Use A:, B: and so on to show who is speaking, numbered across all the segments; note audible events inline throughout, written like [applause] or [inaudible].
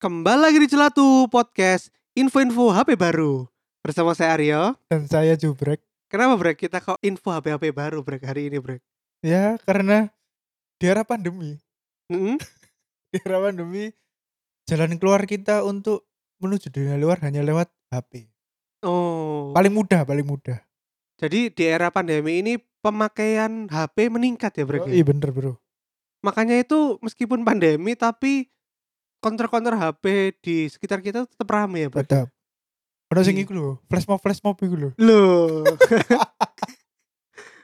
A: Kembali lagi di Celatu Podcast Info-info HP baru Bersama saya Aryo
B: dan saya jubrek
A: Kenapa Brek kita kok info HP-HP baru Brek hari ini Brek?
B: ya karena di era pandemi
A: Mm-mm.
B: di era pandemi jalan keluar kita untuk menuju dunia luar hanya lewat HP
A: Oh
B: paling mudah paling mudah
A: Jadi di era pandemi ini pemakaian HP meningkat ya Brek? ya?
B: iya bener bro
A: Makanya itu meskipun pandemi tapi Konter-konter HP di sekitar kita tetap ramai ya Brek?
B: tetap ada sing
A: Iya.
B: iku lho flash mob flash mob iku lho
A: Loh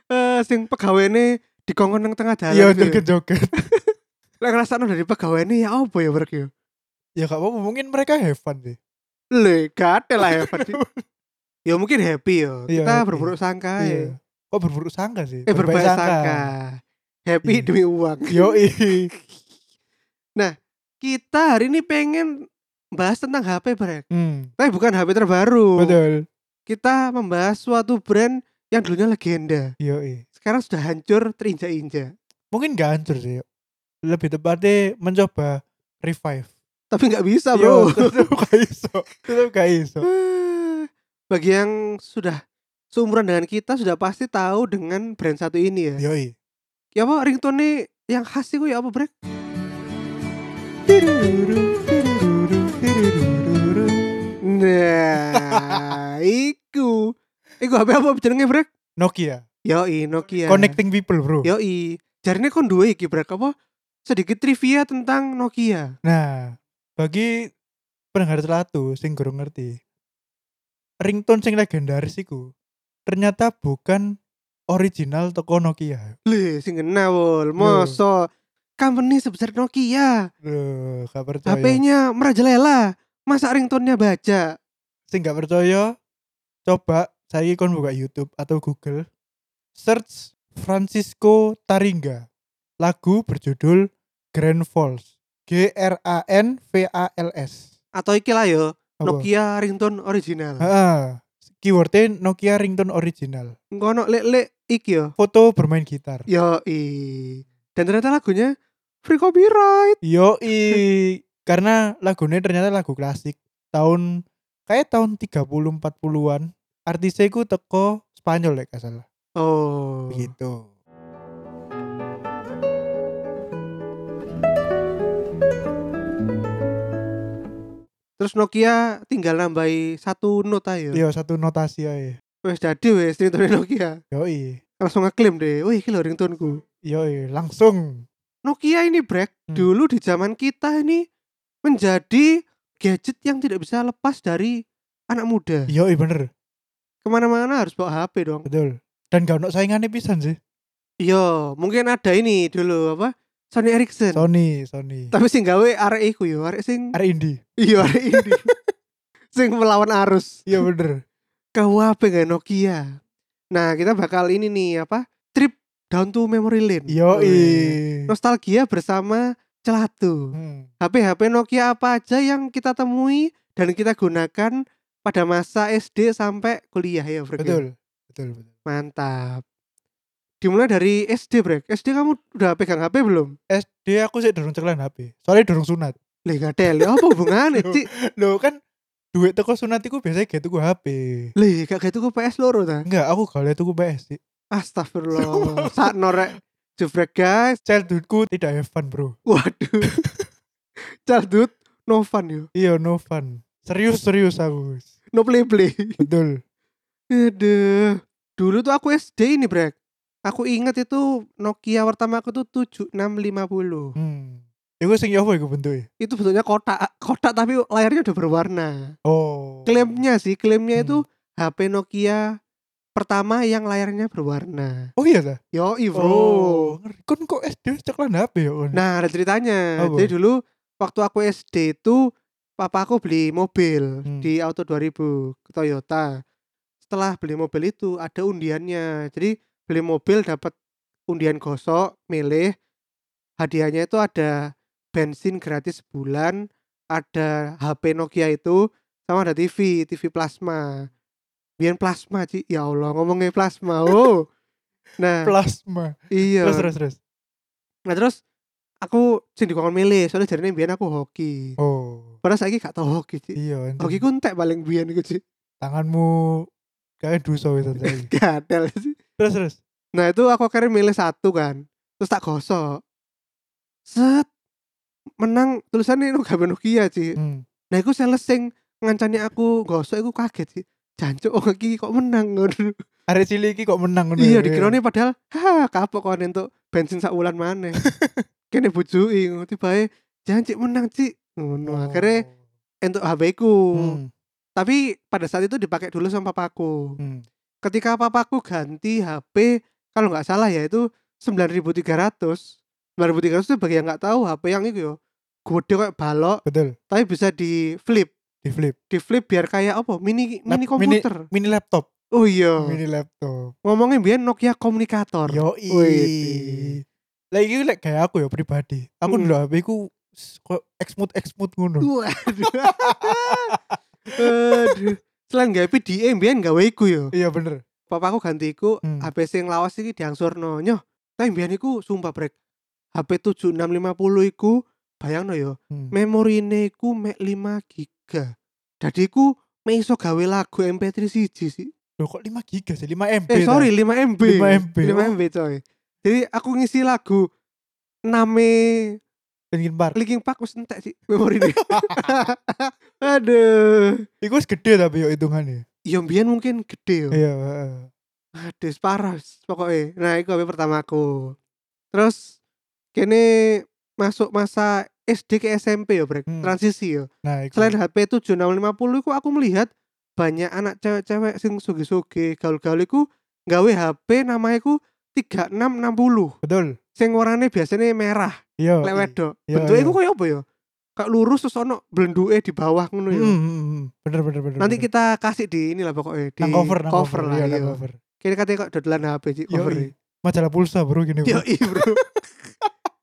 A: Eh, Sing pegawainya dikongkon nang tengah dalan
B: iya
A: ku ya.
B: joget joget
A: Lek ngrasakno dari pegawainya ya apa ya Brek ya?
B: [laughs] ya gak apa-apa mungkin mereka have fun sih
A: Lho gak ada lah ya Fadli.
B: [laughs]
A: Ya mungkin happy ya
B: Iya,
A: Kita
B: happy.
A: berburuk sangka ya
B: iya kok berburuk sangka sih
A: Eh berbaik sangka. Happy
B: Iya.
A: demi uang.
B: yo
A: [laughs] Kita hari ini pengen bahas tentang HP brek.
B: hmm,
A: Tapi bukan HP terbaru.
B: betul
A: Kita membahas suatu brand yang dulunya legenda.
B: yo
A: Sekarang sudah hancur terinjak-injak.
B: mungkin gak hancur sih Yuk. lebih tepatnya mencoba revive
A: Tapi nggak bisa
B: Yo,
A: bro.
B: Iya,
A: [sighs]
B: [laughs] tetep gak iso tetep gak iso
A: Bagi yang sudah seumuran dengan kita sudah pasti tahu dengan brand satu ini ya.
B: yo
A: Ya apa ringtone yang khas itu ya apa brek?
B: [laughs]
A: Nah, iku. Iku HP apa jenenge brek?
B: Nokia
A: Yoi Nokia.
B: connecting people bro
A: Yoi. Jarine kon duwe iki brek apa? Sedikit trivia tentang Nokia.
B: nah bagi pendengar celatu sing gurung ngerti ringtone sing legendaris iku ternyata bukan original toko Nokia
A: Lih, sing kena wol. Moso company sebesar Nokia,
B: Loh, gak percaya
A: HP-nya merajalela. Masa ringtone-nya baja?
B: sing gak percaya coba saya kon buka YouTube atau Google search Francisco Taringa lagu berjudul Grand Falls G R A N V A L S
A: Atau iki lah yo,
B: Apa?
A: Nokia ringtone original.
B: Heeh. keywordnya Nokia ringtone original
A: Engko ono lek-lek iki yo.
B: foto bermain gitar
A: Yoi. Dan ternyata lagunya free copyright.
B: yoi karena lagunya ternyata lagu klasik tahun kayak tahun 30 40-an artisnya iku teko Spanyol ya gak salah
A: Oh.
B: begitu
A: Terus Nokia tinggal nambahi satu nota yo.
B: yo Iya, satu notasi ae
A: Wes jadi wes ringtone Nokia.
B: yoi
A: langsung ngeklaim deh, wih ini lho ringtone-ku
B: Yoi, langsung.
A: Nokia ini brek,
B: Hmm.
A: dulu di zaman kita ini menjadi gadget yang tidak bisa lepas dari anak muda.
B: Yoi bener,
A: Kemana-mana harus bawa HP dong.
B: betul. Dan gak ono saingannya pisan sih.
A: Iya, mungkin ada ini dulu apa? Sony Ericsson.
B: Sony, Sony.
A: Tapi sing gawe arek iku yo, arek sing
B: Are indie.
A: iya arek [laughs] ini. sing melawan arus.
B: Iya bener.
A: KWP gak Nokia. Nah, kita bakal ini nih apa? Trip down to memory lane.
B: Yoi.
A: Nostalgia bersama celatu.
B: Hmm.
A: HP-HP Nokia apa aja yang kita temui dan kita gunakan pada masa SD sampai kuliah ya, Brek. ya?
B: Betul. Betul, betul.
A: Mantap. Dimulai dari SD, Brek. SD kamu udah pegang HP belum?
B: SD Eh, aku sih durung cekelan HP. Soalnya durung sunat. [laughs]
A: Lih, gak ada. Lih, apa hubungannya, Cik?
B: Loh kan duit teko sunat iku biasanya gak tuku HP.
A: Lih, gak kayak tuku PS loro ta.
B: Enggak, aku gak oleh tuku PS sih. [laughs]
A: Astagfirullah. Sak norek jebrek, guys.
B: Childhoodku tidak have fun, Bro.
A: Waduh. Childhood no fun yo.
B: Iya, no fun. Serius, serius aku.
A: No play play.
B: Betul.
A: Aduh. Dulu tuh aku SD ini, Brek. Aku ingat itu Nokia pertama aku tuh 7650.
B: Hmm. Iku sing yo apa iku bentuke?
A: Itu bentuknya kotak, kotak tapi layarnya udah berwarna.
B: Oh.
A: Klaimnya sih, klaimnya itu
B: Hmm.
A: HP Nokia pertama yang layarnya berwarna.
B: Oh iya ta?
A: Yo,
B: Oh,
A: bro.
B: ngeri. Kon kok SD ceklan HP ya kon?
A: Nah, ada ceritanya.
B: Apa?
A: Jadi dulu waktu aku SD itu papa aku beli mobil
B: Hmm.
A: di Auto 2000 ke Toyota. Setelah beli mobil itu ada undiannya. Jadi beli mobil dapat undian gosok milih hadiahnya itu ada bensin gratis sebulan ada HP Nokia itu sama ada TV TV plasma biar plasma Ci. ya Allah ngomongnya plasma oh
B: [laughs]
A: nah
B: plasma
A: iya
B: terus terus terus
A: nah terus aku sing dikongkon milih soalnya jarine biyen aku hoki
B: oh
A: padahal saiki gak tau hoki Ci.
B: iya enten.
A: hoki ku entek paling biyen iku [laughs] Ci.
B: tanganmu kayak duso
A: [laughs]
B: wis saiki
A: gadel Ci.
B: terus terus
A: Nah itu aku akhirnya milih satu kan Terus tak gosok Set Menang tulisannya itu gak Nokia sih
B: hmm.
A: Nah itu sales sing ngancani aku gosok aku kaget sih Jancuk oh iki kok menang ngono.
B: arek cilik iki kok menang
A: [laughs]
B: ngono
A: Iya
B: ya.
A: dikirone padahal ha kapok kon entuk bensin sak wulan maneh. Kene bujui ngono tibae jancuk menang sih ngono.
B: Oh.
A: Akhirnya entuk HP ku.
B: Hmm,
A: Tapi pada saat itu dipakai dulu sama papaku.
B: hmm.
A: ketika papaku ganti HP kalau nggak salah ya itu 9300 9300 itu bagi yang nggak tahu HP yang itu yo gede kayak balok
B: betul
A: tapi bisa di flip
B: di flip
A: di flip biar kayak apa mini
B: Lap-
A: mini komputer
B: mini laptop
A: oh iya
B: mini Iya. laptop
A: ngomongin biar Nokia komunikator
B: yo
A: Wih.
B: i lah iki lek kayak aku ya pribadi aku
A: Mm.
B: dulu HP ku s- kok eksmut eksmut ngono
A: waduh aduh selain gak PDA biar gak iku yo
B: iya bener
A: papaku ganti iku
B: Hmm.
A: HP sing lawas iki diangsurno nyoh tapi biyen iku sumpah brek HP 7650 iku bayangno yo
B: Hmm.
A: memorine iku mek 5 giga jadi iku mek iso gawe lagu MP3 siji sih
B: Loh, kok 5 giga sih 5 MB
A: eh
B: ta?
A: sorry 5 MB
B: 5 MB.
A: 5 MB
B: Oh.
A: coy jadi aku ngisi lagu name
B: Linkin Park
A: Linkin Park wis entek sih
B: [laughs]
A: memorine [laughs] aduh
B: Iku wis gede tapi yo hitungannya.
A: ya biyen mungkin gede yo
B: Iya, heeh.
A: Aduh, parah wis pokoknya. Nah, itu HP pertamaku. Terus kene masuk masa SD ke SMP ya, Brek.
B: Hmm.
A: Transisi ya.
B: Nah, iku.
A: Selain HP 7650 iku aku melihat banyak anak cewek-cewek sing sugih-sugih gaul-gaul iku gawe HP namanya iku 3660.
B: betul.
A: Sing warnane biasanya merah,
B: Iya.
A: lek wedok.
B: Iya,
A: Bentuke
B: iya.
A: iku koyo apa ya? Kayak lurus terus ono blenduke di bawah ngono ya.
B: Hmm, hmm, hmm. bener bener bener.
A: Nanti
B: bener.
A: kita kasih di inilah pokoknya di
B: nang cover, nang cover,
A: lah.
B: iya,
A: Iya,
B: nang cover.
A: Kira katanya kok dodolan HP sih
B: Yoi.
A: cover. e.
B: Majalah pulsa bro [laughs] gini. Bro.
A: Yoi bro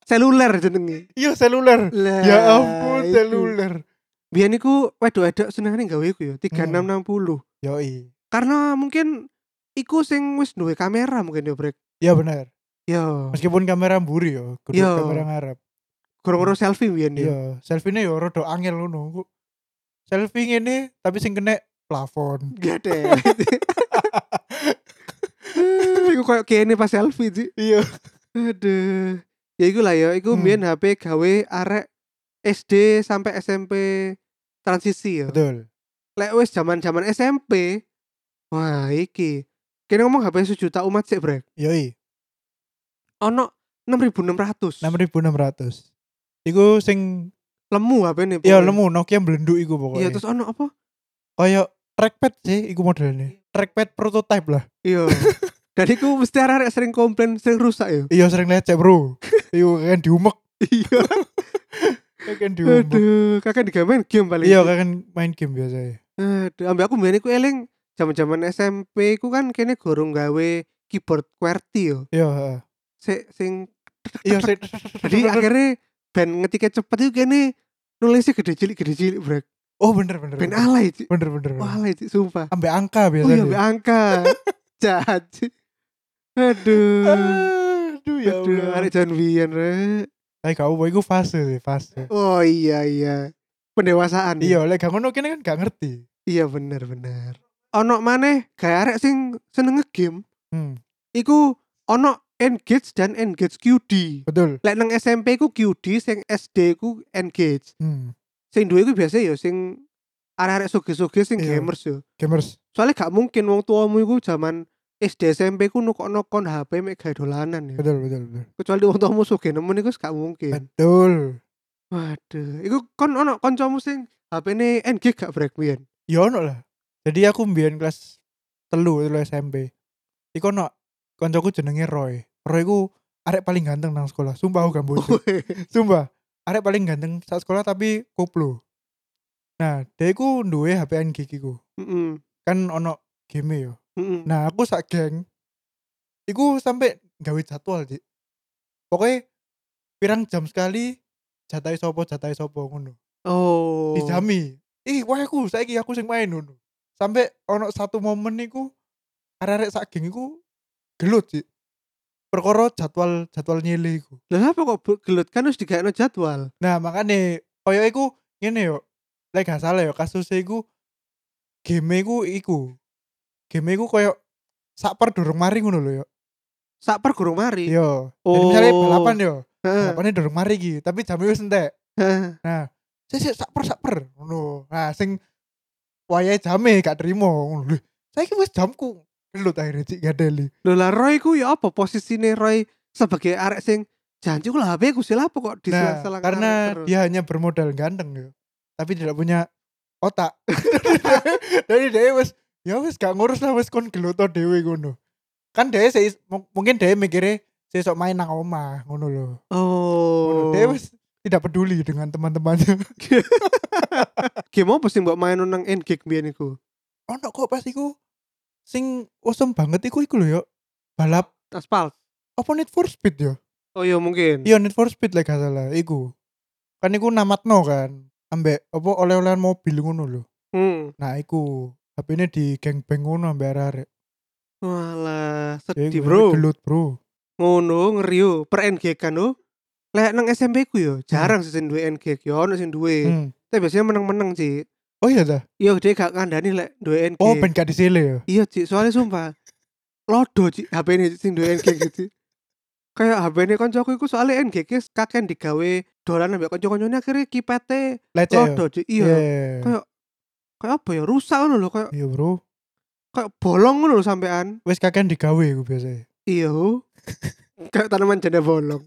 A: Seluler jenenge
B: Iya, seluler.
A: Lah,
B: ya ampun,
A: iku.
B: seluler. Hmm.
A: Biyen iku wedok-wedok senengane gawe iku ya 3660
B: Yoi.
A: Karena mungkin Iku sing wis duwe kamera mungkin ya brek Ya,
B: Iya bener.
A: Yo
B: Meskipun kamera mburi yo, kudu
A: Iya.
B: kamera ngarep.
A: Gorong-gorong selfie biyen ya
B: Iya, selfie-ne yo rada angel ngono. Ku- Selfie ngene tapi sing kena plafon. [laughs]
A: Gede [laughs] Iku koyo kene pas selfie sih
B: Iya.
A: Aduh Ya iku lah ya Iku
B: Hmm.
A: biyen HP gawe arek SD sampai SMP transisi ya
B: Betul.
A: lek wis zaman-zaman SMP. Wah, iki. Kene ngomong HP sejuta umat sik, Brek.
B: Yoi,
A: Ono 6600.
B: 6600. Iku sing
A: Lemu HP ini.
B: ya
A: pokoknya.
B: lemu Nokia blenduk iku pokoknya.
A: Iya, terus ono apa?
B: kayak trackpad sih iku modelnya trackpad prototype lah
A: Iya. [laughs] Dan iku mesti arek sering komplain, sering rusak ya.
B: iya sering lecek
A: [laughs]
B: bro iya kan diumek [laughs]
A: Iya.
B: kan diumek
A: Aduh, kakek digamen game paling.
B: iya kan main game biasa ya
A: Aduh, ambil aku mbiyen iku eling zaman-zaman SMP ku kan kene gorong gawe keyboard QWERTY yo.
B: iya heeh.
A: Sik sing
B: iya sih
A: jadi akhirnya ben ngetiknya cepet itu kene nulisnya gede cilik gede cilik brek
B: oh bener bener
A: ben
B: bener
A: alay Ci.
B: bener bener, bener.
A: Wah, itu sumpah.
B: ambek angka
A: Oh iya,
B: biasanya
A: ambil
B: [laughs]
A: angka. Jahat sih. Aduh.
B: aduh ya
A: Aduh,
B: Allah
A: arek jangan biyen, Rek.
B: kayak kau iku fase sih fase
A: Oh iya iya. Pendewasaan. ya?
B: iya lek gak ngono kene kan gak ngerti
A: Iya bener bener. Ono maneh gaya arek sing seneng nge-game
B: hmm,
A: iku ono engage dan E engage QD.
B: betul
A: Lek nang SMP ku QD, sing SD ku engage.
B: hmm.
A: Sing duwe ku biasa ya sing arek-arek sugih-sugih sing
B: Iya.
A: gamers yo.
B: gamers
A: Soalnya gak mungkin wong tuamu iku zaman SD SMP ku nukokno kon HP mek gawe dolanan ya.
B: betul betul betul
A: kecuali wong tuamu sugih nemen iku wis gak mungkin.
B: betul
A: Waduh, iku kon ono kancamu sing HP-ne NG gak brek biyen.
B: Ya ono lah. Jadi aku mbiyen kelas telu telu SMP. Iku ono koncoku jenenge Roy. Roy ku arek paling ganteng nang sekolah. Sumpah aku gak bodoh. Sumpah. Arek paling ganteng saat sekolah tapi koplo. Nah, dia ku duwe HP NG ku.
A: Heeh.
B: Kan ono game yo.
A: Heeh.
B: Nah, aku sak geng Iku sampai gawe jadwal, Dik. Pokoknya pirang jam sekali jatai sopo jatai sopo ngono.
A: Oh.
B: Dijami. Ih, wah aku saiki aku sing main ngono. Sampai ono satu momen niku arek-arek sak geng iku gelut, Dik. Perkara jadwal jadwal nyilih iku.
A: Lah apa kok bu- gelut kan harus digaekno jadwal.
B: Nah, makanya koyo iku ngene yo. Lek gak salah yo kasus iku game iku iku. Game iku koyo sak per durung mari ngono lho yo.
A: Sak per gurung mari.
B: Yo. Jadi
A: Oh. Eh.
B: misalnya balapan yo,
A: Heeh.
B: balapannya durung mari iki, tapi jamnya wis entek.
A: Heeh.
B: Nah, sik sik sak per sak per ngono. Nah, sing wayahe jame gak trimo ngono lho. Saiki wis jamku. Lho akhirnya cik gadeli.
A: Lho lah Roy ku ya apa posisine Roy sebagai arek sing janji ku lah HP ku sih lah apa kok
B: Nah,
A: diselang-selang
B: karena
A: arek terus.
B: dia hanya bermodal ganteng yo. Tapi tidak punya otak. [laughs] Jadi dia wis ya wis gak ngurus lah wis kon geluto dhewe ngono. Kan dia seis- mung- mungkin dia mikirnya sesok main nang omah ngono lho.
A: Oh.
B: Ngono. Dia wis tidak peduli dengan teman-temannya. [laughs]
A: Game apa sih mbok main nang N-Gig biyen iku?
B: Ono kok pas iku sing awesome banget iku iku lho yo. Balap
A: Aspal.
B: apa Need for Speed yo?
A: Oh iya mungkin.
B: Iya Need for Speed lah gak salah iku. Kan iku namatno kan. Ambek apa oleh-olehan mobil ngono lho.
A: Hmm.
B: Nah iku HP ini di geng ngono ambek arek-arek. Ya,
A: Walah,
B: Jadi
A: sedih
B: gue
A: bro.
B: Gelut bro.
A: Ngono ngeri yo, per NG kan lo. Lek nang SMP ku yo jarang sih sing duwe NG, yo ono sing duwe.
B: Hmm.
A: Tapi biasanya meneng-meneng sih.
B: Oh iya dah.
A: Iya dia gak kandani lek duwe NG.
B: Oh ben gak disele ya.
A: Iya Cik, soalnya sumpah Lodo Cik, HP ini sing duwe NGG Cik Kayak HP ini koncoku iku soalnya NGG kakek digawe dolan ambek konco-koncone akhirnya kipete
B: Lecet ya.
A: Lodo Cik, iya
B: Yeah.
A: Kayak- Kayak apa ya, rusak ngono lho kayak
B: Iya bro.
A: kayak bolong ngono lho sampean.
B: Wes kakean digawe gue biasanya.
A: [laughs]
B: [laughs]
A: Iya. ho. kayak tanaman janda bolong.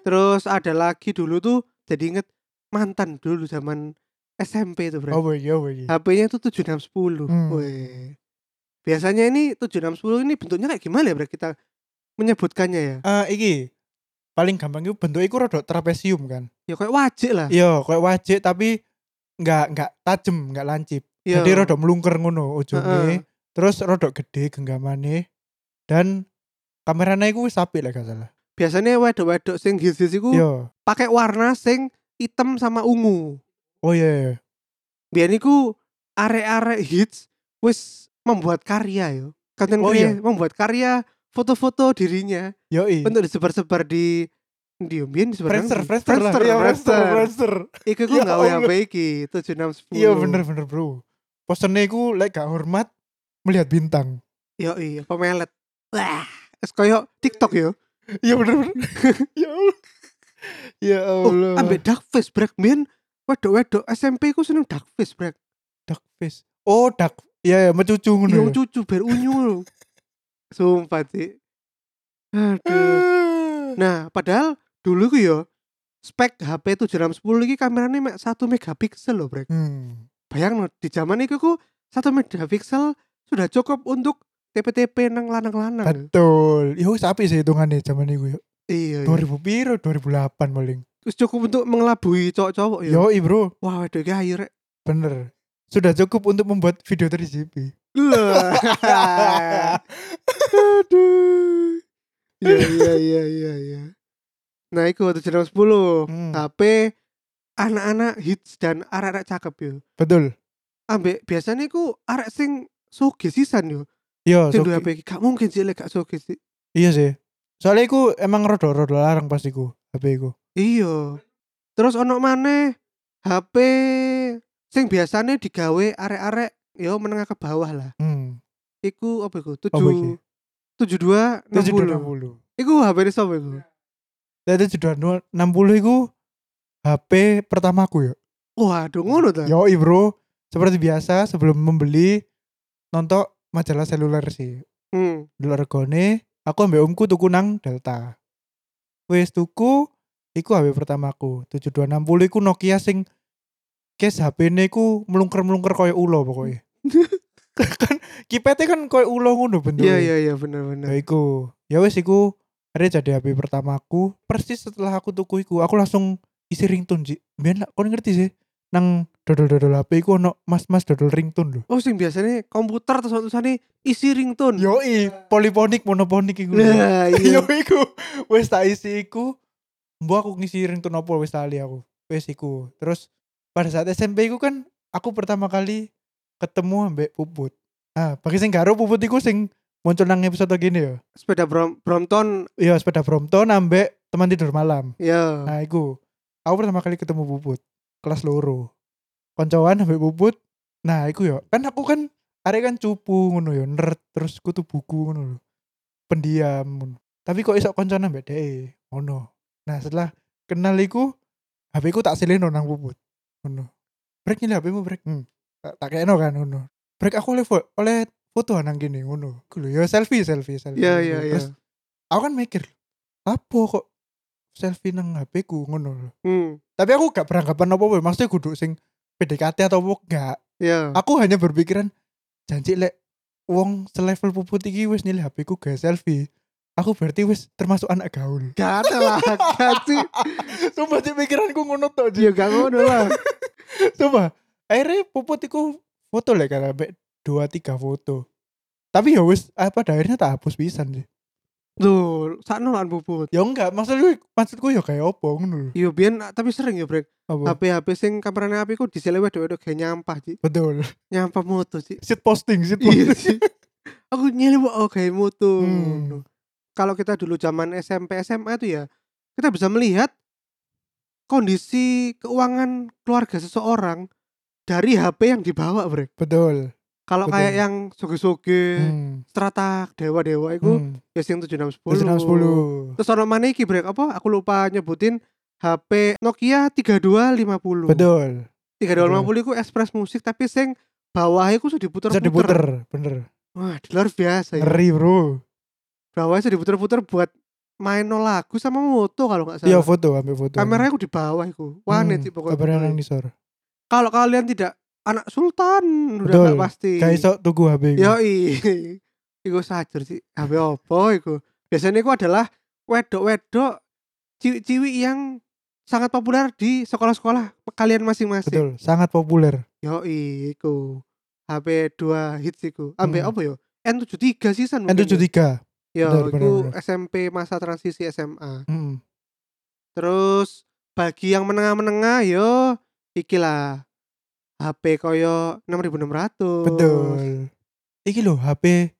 A: Terus ada lagi dulu tuh jadi inget mantan dulu zaman SMP tuh, Bro.
B: Oh boy, oh boy.
A: HP-nya itu 7610.
B: Hmm.
A: Weh. Biasanya ini 7610 ini bentuknya kayak gimana ya Bro kita menyebutkannya ya?
B: Eh, iki paling gampang itu bentuk iku rodok trapesium kan.
A: Ya kayak wajik lah.
B: Iya, kayak wajik tapi nggak nggak tajem, nggak lancip.
A: Iya.
B: Jadi rodok melungker ngono ujungnya.
A: Heeh.
B: Terus rodok gede genggamane dan kameranya iku wis apik lah gak salah.
A: Biasanya wedok-wedok sing hits iku
B: Iya.
A: pakai warna sing hitam sama ungu.
B: Oh iya. iya.
A: Biar niku arek-arek hits wis membuat karya yo. Konten
B: Oh,
A: karya membuat karya foto-foto dirinya
B: Yoi.
A: untuk disebar-sebar di di Biyen disebar nang
B: Iya. Friendster,
A: ndi?
B: Friendster, lah.
A: Friendster,
B: Iya, Friendster,
A: Friendster.
B: Friendster.
A: Iku ku
B: Ya
A: gawe
B: Allah.
A: HP iki 7610.
B: Iya bener bener bro. Posternya iku lek gak hormat melihat bintang.
A: Yo iya, pemelet. Wah, es koyo TikTok ya. yo.
B: Iya bener bener. [laughs] ya Allah. Ya
A: Oh,
B: Allah.
A: ambek dark face brek men. Wedok-wedok SMP ku seneng dark face brek.
B: duck face. Oh duck. Iya ya mecucu ngono.
A: Yo
B: ya.
A: cucu ber unyu lho. Sumpah sih. Aduh.
B: Ah.
A: Nah, padahal dulu ku yo spek HP 7610 iki kameranya mek 1 megapiksel loh brek.
B: Hmm.
A: Bayang di zaman itu ku 1 megapiksel sudah cukup untuk TP-TP nang lanang-lanang.
B: Betul. Ya wis apik sih hitungannya zaman iku ya.
A: Iya, iya.
B: 2000 piro 2008 paling.
A: Terus cukup untuk mengelabui cowok-cowok yo.
B: Yoi bro,
A: Wah, waduh iki ayu rek.
B: bener. Sudah cukup untuk membuat video [laughs] 3GP.
A: Loh.
B: [laughs]
A: Aduh. Iya iya iya iya iya. Nah, itu waktu jam 10.
B: Hmm.
A: HP anak-anak hits dan arek-arek cakep yo.
B: Betul.
A: Ambek biasanya iku arek sing sugih sisan yo.
B: Yo,
A: Sing duwe
B: Soki.
A: HP iki gak mungkin sih lek gak sugih sih.
B: Iya sih. Soalnya aku emang rodo rodo larang pas iku HP iku.
A: Iya. Terus ono maneh HP sing biasanya digawe arek-arek yo menengah ke bawah lah.
B: Hmm.
A: Iku apa iku?
B: Apa iki?
A: 7 72 60.
B: 760.
A: Iku HP ini sapa iku?
B: Jadi 760 iku HP pertamaku ya.
A: Waduh ngono ta.
B: Yoi bro, seperti biasa sebelum membeli nonton majalah seluler sih.
A: Hmm.
B: Dulu regone aku ambek omku tuku nang Delta. Wes tuku iku HP pertamaku. 7260 iku Nokia sing case HP-ne iku melungker-melungker koyo ulo pokoknya. [laughs] kan kipete kan koyo ulo ngono
A: Hmm.
B: bentuke.
A: Iya iya iya
B: Ya
A: benar-benar.
B: iku. Ya wis iku akhirnya jadi HP pertamaku. Persis setelah aku tuku iku, aku langsung isi ringtone sih. Biar lah, kau ngerti sih. nang dodol-dodol HP iku ono mas-mas dodol ringtone lho.
A: Oh sing biasanya komputer terus tulisannya isi ringtone.
B: Yoi, poliponik monoponik iku. lho.
A: Nah,
B: Yo
A: iya.
B: iku wis tak isi iku. Mbok aku ngisi ringtone apa wis tak lali aku. Wis iku. Terus pada saat SMP iku kan aku pertama kali ketemu ambek Puput. Ah, bagi sing garo Puput iku sing muncul nang episode gini ya.
A: Sepeda Brom Brompton
B: Iya, sepeda Brompton ambek teman tidur malam.
A: ya.
B: Nah, iku. Aku pertama kali ketemu Puput kelas loro. Koncoan sampai Puput. Nah, iku yo. Kan aku kan arek kan cupu ngono yo, nerd terus kutu buku ngono lho. Pendiam ngono. Tapi kok iso koncoan ambek dhek e? ngono. Nah, setelah kenal iku HP ku tak sileno nang Puput. Ngono. Brek nyilih HP-mu brek. Hmm. Tak, tak kekno kan ngono. Brek aku oleh fo- oleh foto nang gini ngono. Iku lho yo selfie selfie selfie.
A: Ya
B: ngono.
A: ya ya.
B: Terus aku kan mikir apa kok selfie nang HP ku ngono lho.
A: Hmm.
B: Tapi aku gak beranggapan apa apa maksudnya kudu sing PDKT atau apa gak.
A: Ya.
B: Aku hanya berpikiran janji lek wong selevel puput iki wis nilai HP ku gak selfie. Aku berarti wis termasuk anak gaul.
A: Gak ada lah, gak [laughs] sih.
B: [laughs] Sumpah sih pikiranku ngono tok Ji.
A: Ya gak ngono lah.
B: Sumpah. Akhirnya puput iku foto lek kan sampe 2 3 foto. Tapi ya wis ah, pada akhirnya tak hapus pisan sih.
A: Loh, sakno lan bubut.
B: Ya enggak, maksudku maksudku ya kayak apa ngono lho.
A: Yo biyen tapi sering ya, Brek.
B: Apa?
A: HP-HP sing kamerane api ku diseleweh dhewek kayak nyampah, Ci.
B: Betul.
A: Nyampah moto,
B: [laughs]
A: Ci.
B: Shit posting, shit
A: Iya,
B: posting.
A: Ci. [laughs] Aku nyeleweh oh kayak moto.
B: Hmm.
A: Kalau kita dulu zaman SMP, SMA tuh ya, kita bisa melihat kondisi keuangan keluarga seseorang dari HP yang dibawa, Brek.
B: Betul.
A: Kalau
B: Betul.
A: kayak yang soge-soge,
B: Hmm.
A: strata, dewa-dewa itu
B: Hmm.
A: ya sing 7610.
B: 7610.
A: Terus ono mana iki brek apa? Aku lupa nyebutin HP Nokia 3250.
B: Betul.
A: 3250
B: Hmm.
A: iku Express Musik tapi sing bawahnya iku sudah diputer-puter.
B: Bisa diputer, bener.
A: Wah, di luar biasa ya.
B: Ngeri, Bro.
A: Bawahnya sudah diputer-puter buat main no lagu sama moto kalau nggak salah.
B: Iya, foto, ambil foto.
A: Kameranya aku di bawah iku. Wah,
B: Hmm,
A: nih pokoknya.
B: Kameranya nang nisor.
A: Kalau kalian tidak anak sultan udah
B: Betul.
A: nggak pasti.
B: Gak iso tuku HP. iku.
A: Yoi. [laughs] Iku sajur sih. HP opo iku? Biasanya iku adalah wedok-wedok ciwi-ciwi yang sangat populer di sekolah-sekolah kalian masing-masing.
B: Betul, sangat populer.
A: Yoi iku. HP 2 hits iku. Ambe
B: Hmm.
A: apa yo? N73 season mungkin ya?
B: N73.
A: Yo,
B: benar, benar,
A: iku
B: benar.
A: SMP masa transisi SMA.
B: Hmm.
A: Terus bagi yang menengah-menengah yo ikilah HP koyo 6600.
B: Betul. Iki lho HP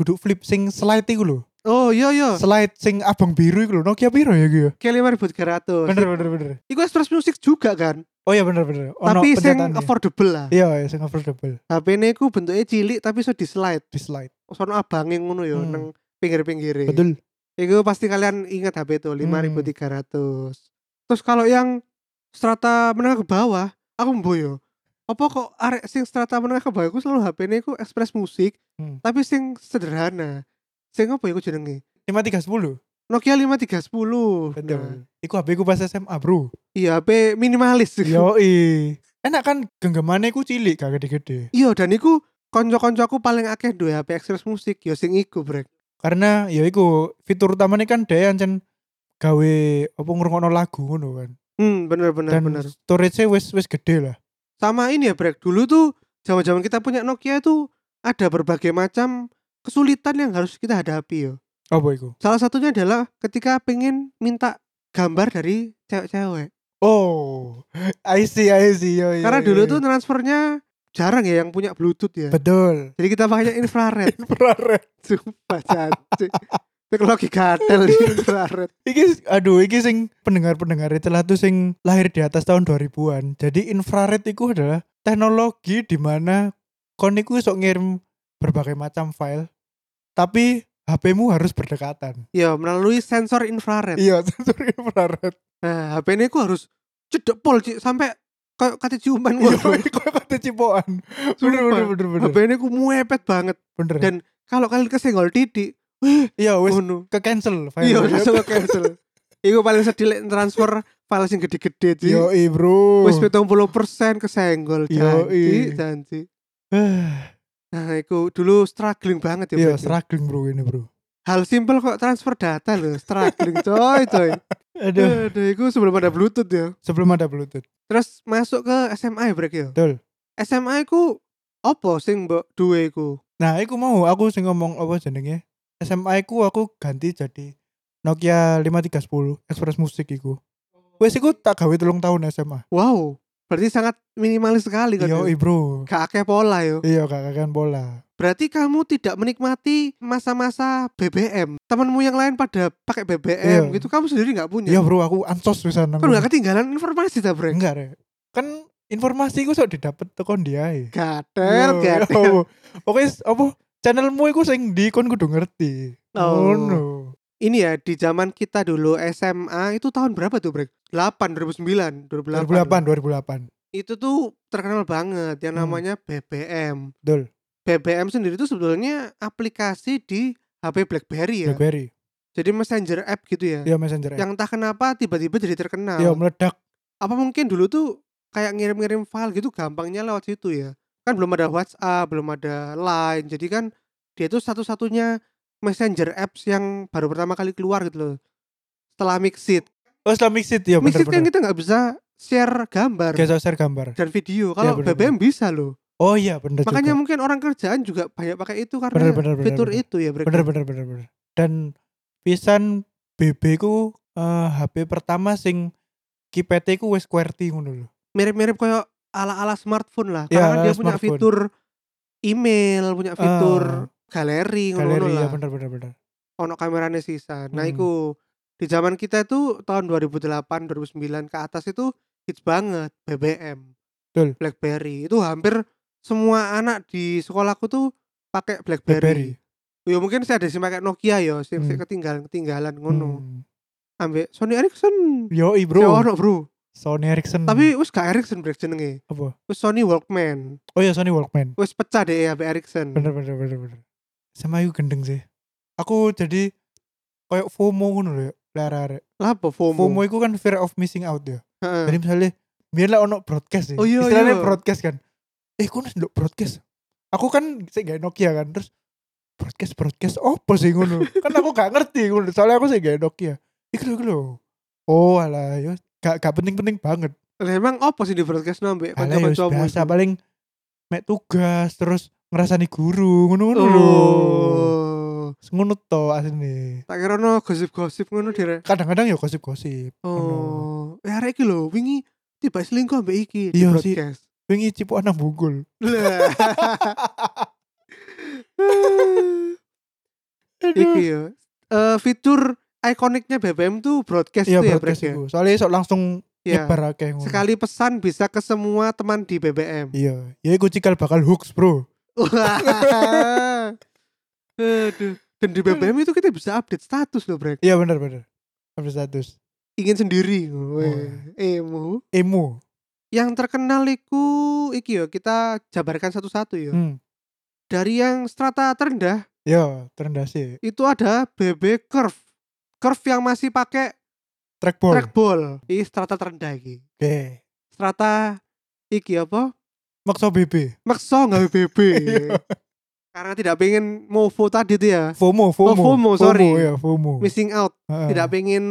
B: kudu flip sing slide iku lho.
A: Oh, yo yo.
B: Slide sing abang biru iku lho. Nokia piro ya iku ya?
A: K5300.
B: Bener, bener, bener.
A: Iku Express Music juga kan,
B: Oh iya bener, bener. Ono
A: tapi sing
B: pencetaannya.
A: affordable lah.
B: Iya, iya, sing affordable
A: HP ini ku bentuknya cilik tapi so di slide,
B: di slide.
A: sono abange ngono yo
B: Hmm.
A: nang pinggir-pinggire.
B: Betul.
A: Iku pasti kalian ingat HP itu
B: Hmm.
A: 5300. Terus kalau yang strata menengah ke bawah, aku mboyo. Apa kok arek sing strata menengah ke bawah iku selalu HP ini ku Express Music,
B: Hmm.
A: tapi sing sederhana. Sing apa iku jenenge?
B: 5310.
A: Nokia 5310. Nah,
B: Betul. Iku HP ku pas SMA,
A: [laughs]
B: Bro.
A: iya HP minimalis.
B: Iya. Yoi. Enak kan genggamannya ku cilik gak gede-gede.
A: [laughs] Iya dan iku konco-koncoku paling akeh duwe HP Express Musik yo sing iku brek.
B: Karena ya iku fitur utamanya kan dia ancen gawe apa ngrungokno lagu ngono kan.
A: Hmm bener-bener
B: Dan
A: bener.
B: storage-nya wis wis gede lah.
A: Sama ini ya brek. Dulu tuh zaman-zaman kita punya Nokia itu ada berbagai macam kesulitan yang harus kita hadapi yo.
B: Apa iku?
A: Salah satunya adalah ketika pengen minta gambar dari cewek-cewek.
B: Oh, I see, I see. Yo, yo,
A: Karena
B: yo,
A: dulu
B: yo.
A: tuh transfernya jarang ya yang punya Bluetooth ya.
B: betul.
A: Jadi kita pakainya
B: [laughs]
A: infrared.
B: Infrared.
A: Sumpah [laughs] cantik. Teknologi gatel ya, infrared.
B: Iki aduh, iki sing pendengar-pendengar celah tuh sing lahir di atas tahun 2000-an. Jadi infrared itu adalah teknologi di mana kon iku iso ngirim berbagai macam file tapi HP-mu harus berdekatan.
A: Ya melalui sensor infrared.
B: Iya, [laughs] sensor infrared.
A: Nah, HP ini aku harus cedek pol Cik, sampai kayak kata ciuman
B: Iya,
A: gua.
B: [laughs] kok kata cipokan.
A: Sumpah.
B: Bener, bener, bener, bener.
A: HP ini aku muepet banget.
B: Bener.
A: Dan kalau kalian kesenggol titik,
B: iya, wes
A: ngono.
B: ke cancel.
A: Iya, langsung ke cancel. Iku paling sedih lek transfer file sing gede-gede sih.
B: Yo, bro.
A: Wis
B: [sighs]
A: 70% kesenggol
B: Yo,
A: janji,
B: i.
A: janji.
B: Ah,
A: Nah, iku dulu struggling banget ya.
B: Iya,
A: Bang.
B: struggling bro ini bro.
A: Hal simple kok transfer data loh, struggling coy coy.
B: [laughs] Aduh,
A: Aduh, itu sebelum ada Bluetooth ya.
B: sebelum ada Bluetooth.
A: Terus masuk ke SMA ya, Brek ya.
B: Betul.
A: SMA ku opo sing mbok duwe ku?
B: Nah, aku mau aku sing ngomong apa jenenge? SMA ku aku ganti jadi Nokia 5310 Express Music iku.
A: Oh.
B: Wes iku tak gawe telung tahun SMA.
A: Wow, berarti sangat minimalis sekali kan.
B: Iya,
A: ya?
B: bro.
A: Gak akeh pola ya? yo.
B: Iya, kakak bola.
A: Berarti kamu tidak menikmati masa-masa BBM. Temanmu yang lain pada pakai BBM
B: Iya.
A: gitu, kamu sendiri nggak punya.
B: Iya, bro, aku ansos wisan nang.
A: Kan nggak ketinggalan informasi ta, Brek?
B: Enggak, Rek. Kan informasi iku sok didapet tekon dia. e.
A: Gatel,
B: Yo,
A: gatel.
B: yo. Oke, s- apa channelmu iku sing di kon kudu ngerti.
A: Oh.
B: Ngono.
A: Ini ya di zaman kita dulu SMA itu tahun berapa tuh, Brek? 8 2009, 2008.
B: 2008, 2008.
A: Itu tuh terkenal banget yang
B: Hmm.
A: namanya BBM.
B: Betul.
A: BBM sendiri itu sebetulnya aplikasi di HP BlackBerry ya.
B: BlackBerry.
A: Jadi messenger app gitu ya.
B: Iya, Messenger.
A: Yang entah kenapa tiba-tiba jadi terkenal.
B: Iya, meledak.
A: Apa mungkin dulu tuh kayak ngirim-ngirim file gitu gampangnya lewat situ ya. Kan belum ada WhatsApp, belum ada Line. Jadi kan dia tuh satu-satunya messenger apps yang baru pertama kali keluar gitu loh. Setelah Mixit.
B: Oh, setelah Mixit ya,
A: Mixit kan
B: bener-bener.
A: kita nggak bisa share gambar
B: Gak usah share gambar.
A: dan video. Kalau BBM
B: bener-bener.
A: bisa loh.
B: Oh iya, bener
A: Makanya
B: juga.
A: mungkin orang kerjaan juga banyak pakai itu karena
B: bener bener bener.
A: fitur
B: bener.
A: itu ya. Brek.
B: Bener bener bener bener. Dan pisan BB ku eh, HP pertama sing kipete ku wis QWERTY ngono lho.
A: mirip-mirip kayak ala-ala smartphone lah.
B: Ya,
A: Karena kan
B: ala
A: dia punya
B: smartphone. Ah.
A: fitur email, punya fitur galeri, ngono
B: Galeri ya
A: lah.
B: bener bener bener.
A: Ono kameranya sisa. Nah,
B: Hmm.
A: iku di zaman kita itu tahun 2008, 2009 ke atas itu hits banget BBM.
B: Betul.
A: BlackBerry. Itu hampir semua anak di sekolahku tuh pakai
B: BlackBerry.
A: BlackBerry. Ya mungkin saya ada sih pakai Nokia ya, sih
B: Hmm.
A: ketinggalan-ketinggalan ngono.
B: Hmm.
A: Ambek Sony Ericsson.
B: Yo
A: Ya
B: bro. Hmm.
A: ono, Bro.
B: Sony Ericsson.
A: Tapi wis gak Ericsson brek jenenge.
B: apa?
A: Wis Sony Walkman.
B: Oh iya Sony Walkman.
A: wis pecah deh HP Ericsson.
B: Bener bener bener bener. Sama aku gendeng sih. Aku jadi koyok FOMO ngono lho ya. Lara-lara.
A: Lah apa FOMO?
B: FOMO itu kan fear of missing out ya.
A: Heeh.
B: Jadi misalnya biar lah ono broadcast ya.
A: Oh, iya,
B: Istilahnya
A: iya.
B: broadcast kan. Eh aku nih broadcast. Aku kan sih gak Nokia kan. Terus broadcast broadcast apa
A: [laughs]
B: sih ngono. kan aku gak ngerti ngono. Soalnya aku sih gak Nokia. Iku lho, iku lho. Oh alah yo gak gak penting-penting banget.
A: Lah emang apa sih di broadcast nambe
B: Alah yo
A: kanca-kancamu?
B: biasa paling mek tugas terus ngerasani guru ngono-ngono lho.
A: Oh.
B: Ngono to asline.
A: Tak kira no gosip-gosip ngono direk.
B: Kadang-kadang yo gosip-gosip. Ngono.
A: Oh. Ya arek iki lho wingi tiba selingkuh ambek iki di
B: Iya sih.
A: broadcast.
B: Wingi cipukan nang bungkul. [laughs]
A: Lah. [laughs] iki
B: Aduh.
A: ya. Eh, fitur ikoniknya BBM tuh broadcast
B: Iya
A: tuh ya,
B: broadcast
A: Brek, ya?
B: iku. Soalnya sok langsung
A: Ya.
B: nyebar akeh ngono.
A: Sekali pesan bisa ke semua teman di
B: [laughs]
A: [laughs] BBM.
B: Iya, ya iku cikal bakal hoax, Bro.
A: Wah. Aduh. Dan di BBM itu kita bisa update status loh, Brek.
B: Iya bener bener. Apa status?
A: Ingin sendiri.
B: Wah.
A: Weh, Emu.
B: Emo.
A: Yang terkenal iku iki yo kita jabarkan satu-satu yo.
B: Hmm.
A: Dari yang strata terendah
B: Iya, terendah sih.
A: itu ada BB curve. Curve yang masih pakai
B: Trackball.
A: trackball. Ini strata terendah iki.
B: Oke.
A: Strata iki apa?
B: Maksa BB.
A: Makso nggak BB.
B: [laughs] Iya.
A: Karena tidak pengen mofo tadi tuh ya.
B: FOMO, FOMO.
A: FOMO, sorry.
B: FOMO, ya, FOMO.
A: Missing out.
B: Heeh.
A: Tidak pengen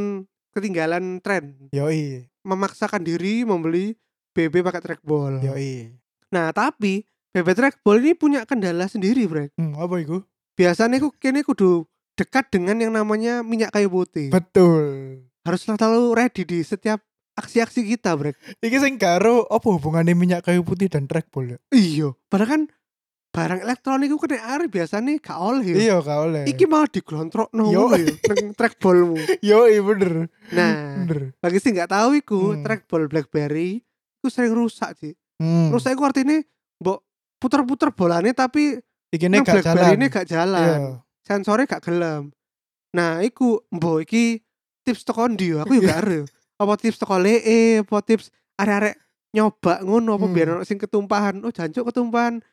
A: ketinggalan tren.
B: Yoi,
A: memaksakan diri membeli BB pakai trackball.
B: yoi.
A: Nah, tapi BB trackball ini punya kendala sendiri, Brek.
B: Hmm, apa iku?
A: Biasanya ku kene kudu dekat dengan yang namanya minyak kayu putih.
B: Betul.
A: Harus selalu ready di setiap aksi-aksi kita, Brek.
B: Iki sing karo apa hubungannya minyak kayu putih dan trackball ya?
A: Iya, padahal kan barang elektronik ku kena air biasanya gak oleh. ya.
B: Iya, gak oleh.
A: Iki malah diglontrok no
B: Yo. [laughs]
A: nang trackballmu.
B: yoi bener.
A: Nah,
B: Bener.
A: bagi sih nggak tahu iku
B: Hmm.
A: trackball BlackBerry itu sering rusak sih.
B: Hmm.
A: Rusak iku artinya mbok puter-puter bolanya tapi
B: iki
A: ini
B: nih gak jalan. Iya,
A: ini gak jalan sensornya gak gelem nah iku mbo iki tips teko ndi yo, aku juga ngerti apa tips teko lee apa tips arek-arek nyoba ngono apa
B: Hmm.
A: biar ono sing ketumpahan oh jancuk ketumpahan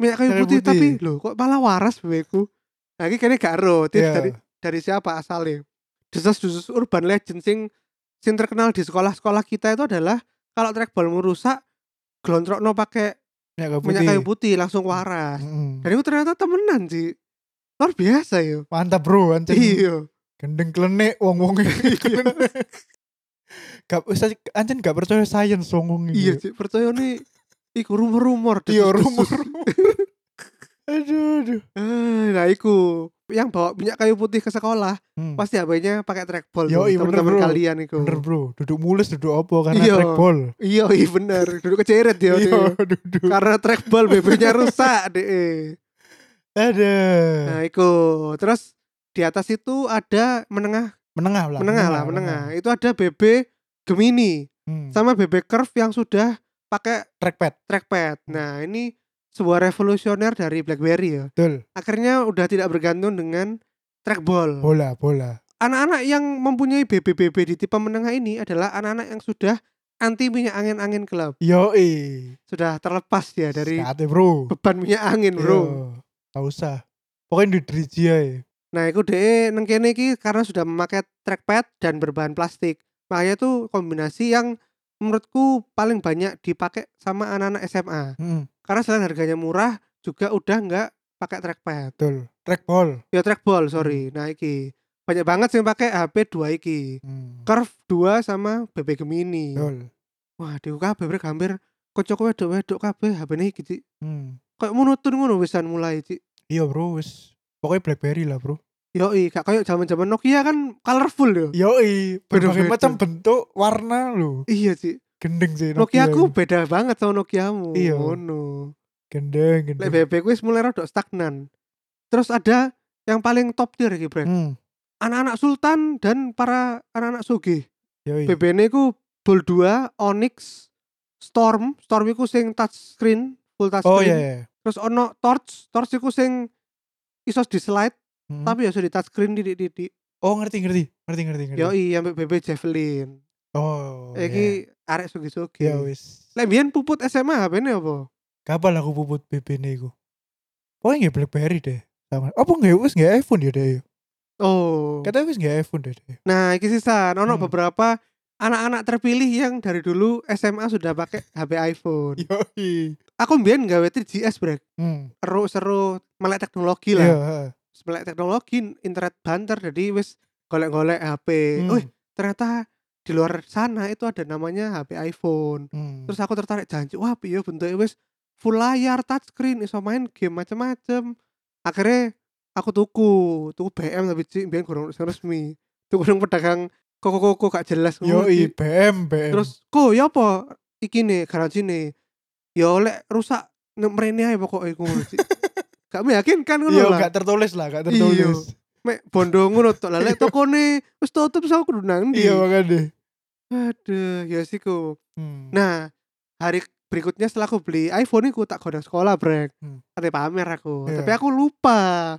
A: minyak kayu
B: Kayu
A: putih,
B: putih.
A: tapi lho kok malah waras beku nah iki kene gak ero tips
B: Iya.
A: dari dari siapa asalnya desas-desus urban legend sing sing terkenal di sekolah-sekolah kita itu adalah kalau trackball rusak glontrokno pakai
B: Minyak kayu putih. Hmm.
A: minyak kayu putih langsung waras
B: Mm-mm.
A: dan itu ternyata temenan sih luar biasa yo
B: Mantap bro, anjing.
A: iya
B: Gendeng klenek wong-wong
A: [laughs]
B: Gak usah anjing gak percaya sains wong-wong
A: iya
B: iki.
A: Cik, percaya nih iku rumor-rumor
B: Iya,
A: desus-desus.
B: rumor-rumor. [laughs] aduh, aduh.
A: [laughs] Eh, nah iku yang bawa minyak kayu putih ke sekolah
B: Hmm.
A: pasti HP-nya pakai trackball tuh,
B: Yoi, bener,
A: teman-teman
B: bro.
A: kalian iku
B: Bener bro, duduk mulus duduk apa karena
A: Iya.
B: trackball.
A: iya iya bener duduk keceret ya
B: Iya, duduk.
A: karena trackball BB-nya rusak deh
B: Ada. Eh.
A: nah iku terus di atas itu ada menengah
B: Menengah lah.
A: menengah lah menengah itu ada BB Gemini
B: Hmm.
A: sama BB Curve yang sudah pakai
B: Trackpad,
A: trackpad nah ini sebuah revolusioner dari BlackBerry ya
B: betul.
A: akhirnya udah tidak bergantung dengan trackball
B: Bola, bola.
A: anak-anak yang mempunyai BBBB di tipe menengah ini adalah anak-anak yang sudah anti minyak angin-angin gelap
B: Yo
A: sudah terlepas ya dari
B: Sekate, bro.
A: beban minyak angin bro
B: Yo, Gak usah. Pokoknya di driji ae.
A: nah itu deh nengkene iki karena sudah memakai trackpad dan berbahan plastik makanya tuh kombinasi yang menurutku paling banyak dipakai sama anak-anak SMA
B: Hmm,
A: karena selain harganya murah juga udah nggak pakai trackpad
B: betul. Trackball.
A: ya trackball sorry nah iki banyak banget sih yang pakai HP 2 iki
B: Hmm.
A: Curve 2 sama BB Gemini
B: Betul.
A: Wah, di kabeh mereka hampir kocok wedok-wedok kabeh HP-ne iki, Cik.
B: Hmm.
A: Kayak monoton ngono wisan mulai, Cik.
B: Iya, bro, wis. Pokoknya BlackBerry lah, bro.
A: Yoi, gak kayak zaman-zaman Nokia kan colorful yo.
B: Yo i, berbagai
A: Beda-beda.
B: macam bentuk, warna lo.
A: Iya, Cik.
B: Gendeng sih
A: Nokia aku
B: ini.
A: beda banget sama Nokiamu.
B: ya. Iya.
A: Ngono.
B: gendeng,
A: Lek
B: gendeng.
A: BB ku wis mulai rodok stagnan. Terus ada yang paling top tier iki, Brek.
B: Hmm.
A: Anak-anak Sultan dan para anak-anak Sugih.
B: Yo
A: BB-ne ku Bol 2, Onyx, Storm. Storm iku sing touch screen, full touch
B: Oh
A: screen.
B: iya, iya.
A: Terus ono Torch, Torch iku sing isos di slide
B: Hmm.
A: tapi ya sudah di touchscreen di di di
B: Oh ngerti ngerti ngerti ngerti ngerti.
A: yoi Eh, sampai BB Javelin
B: Gitu. Oh.
A: iki arek sugi-sugi
B: ya wis.
A: lek mbiyen puput SMA HP-ne apa
B: Kapan aku puput BB ne iku? Pokoknya nggak BlackBerry deh. Sama. Apa nggak wis nggak iPhone ya deh.
A: oh
B: Kata wis nggak iPhone deh. deh.
A: nah iki sisa ono
B: Kan Hmm.
A: beberapa anak-anak terpilih yang dari dulu SMA sudah pakai HP iPhone
B: Iya. Yoi.
A: aku mbiyen gawe 3GS brek
B: Hmm.
A: seru-seru melek teknologi
B: Iya.
A: lah
B: heeh.
A: melek teknologi internet banter jadi wis golek-golek HP
B: Hmm.
A: Wih, ternyata di luar sana itu ada namanya HP iPhone
B: Hmm.
A: terus aku tertarik janji wah piye bentuknya wis full layar touchscreen iso main game macem-macem akhirnya aku tuku tuku BM tapi cik biar kurang sing resmi tuku nang pedagang koko koko gak jelas ngono,
B: Yoi
A: Cik.
B: BM BM.
A: terus ko ya apa iki nih garansi nih ya oleh rusak nek mrene ae pokoknya iku ngono, Cik. gak meyakinkan ngono
B: Iya
A: lah
B: nggak tertulis lah nggak
A: Iya.
B: tertulis.
A: mek bondo ngono tok lah lek tokone wis tutup saya kudu nang ndi
B: Iya makanya.
A: aduh ya siku
B: Hmm.
A: Nah, hari berikutnya setelah aku beli iPhone aku tak godang sekolah, Brek.
B: Hmm.
A: Katanya pamer aku.
B: Iya.
A: Tapi aku lupa.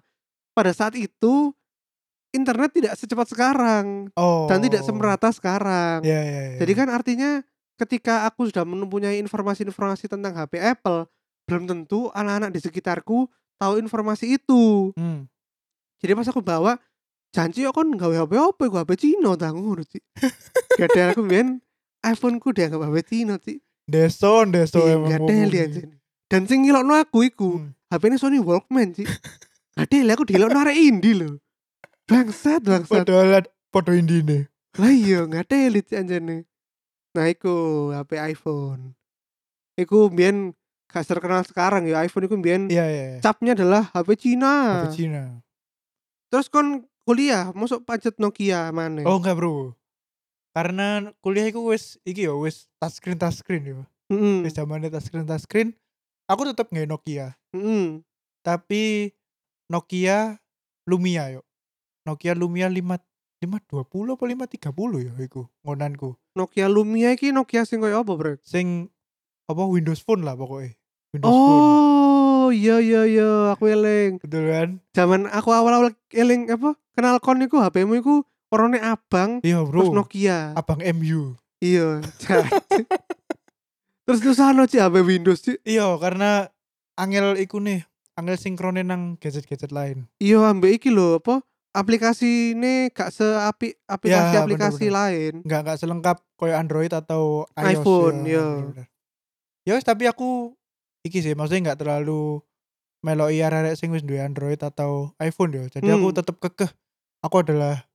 A: Pada saat itu internet tidak secepat sekarang
B: oh.
A: dan tidak semerata sekarang.
B: Iya iya. iya.
A: Jadi kan artinya ketika aku sudah mempunyai informasi-informasi tentang HP Apple, belum tentu anak-anak di sekitarku tahu informasi itu.
B: Hmm.
A: Jadi pas aku bawa janji kok kon gawe HP apa gua HP Cina ta ngono
B: [laughs]
A: sih. Gak ada aku biyen iPhone ku dianggap HP Cina sih.
B: Deso deso
A: Iya,
B: emang.
A: gak deli
B: ngomongnya.
A: anjir. Dan sing ngilokno aku iku,
B: Hmm.
A: HP-ne Sony Walkman, Ci. Gak deli aku dilokno arek indie lho. Bangsat, bangsat.
B: Padahal podo indine.
A: Lah iya, gak deli Ci anjene. Nah, iku HP iPhone. Iku mbiyen gak terkenal sekarang ya iPhone iku mbiyen
B: Iya iya.
A: capnya adalah HP Cina.
B: Apa Cina.
A: Terus kon kuliah masuk pajak Nokia mana?
B: Oh enggak bro Karena kuliah iku wis iki ya wis touchscreen touchscreen ya.
A: Mm-mm,
B: Wis zamane touchscreen touchscreen. Aku tetep nggak Nokia,
A: mm-mm.
B: tapi Nokia Lumia yo. Nokia Lumia 5 520 apa 530 ya iku ngonanku.
A: Nokia Lumia iki Nokia sing koyo apa, Bro?
B: Sing apa Windows Phone lah pokoknya. Windows Phone.
A: Oh, iya iya iya, aku eling.
B: Betul kan?
A: zaman aku awal-awal eling apa kenal kon iku HP-mu iku warnanya abang
B: Iya,
A: terus
B: Bro.
A: Nokia.
B: Abang MU.
A: Iya. [laughs] jadi. terus susahno sih HP Windows sih.
B: Iya, karena angel iku nih, angel sinkronin nang gadget-gadget lain.
A: Iya ambek iki lho apa aplikasi ini gak seapi aplikasi aplikasi
B: Ya, bener-bener.
A: lain.
B: nggak nggak selengkap kayak Android atau iOS,
A: iPhone,
B: ya,
A: ya.
B: bener-bener. Ya wis, tapi aku iki sih maksudnya nggak terlalu meloki arek-arek sing wis duwe Android atau iPhone ya. Jadi aku
A: Hmm.
B: tetep kekeh aku adalah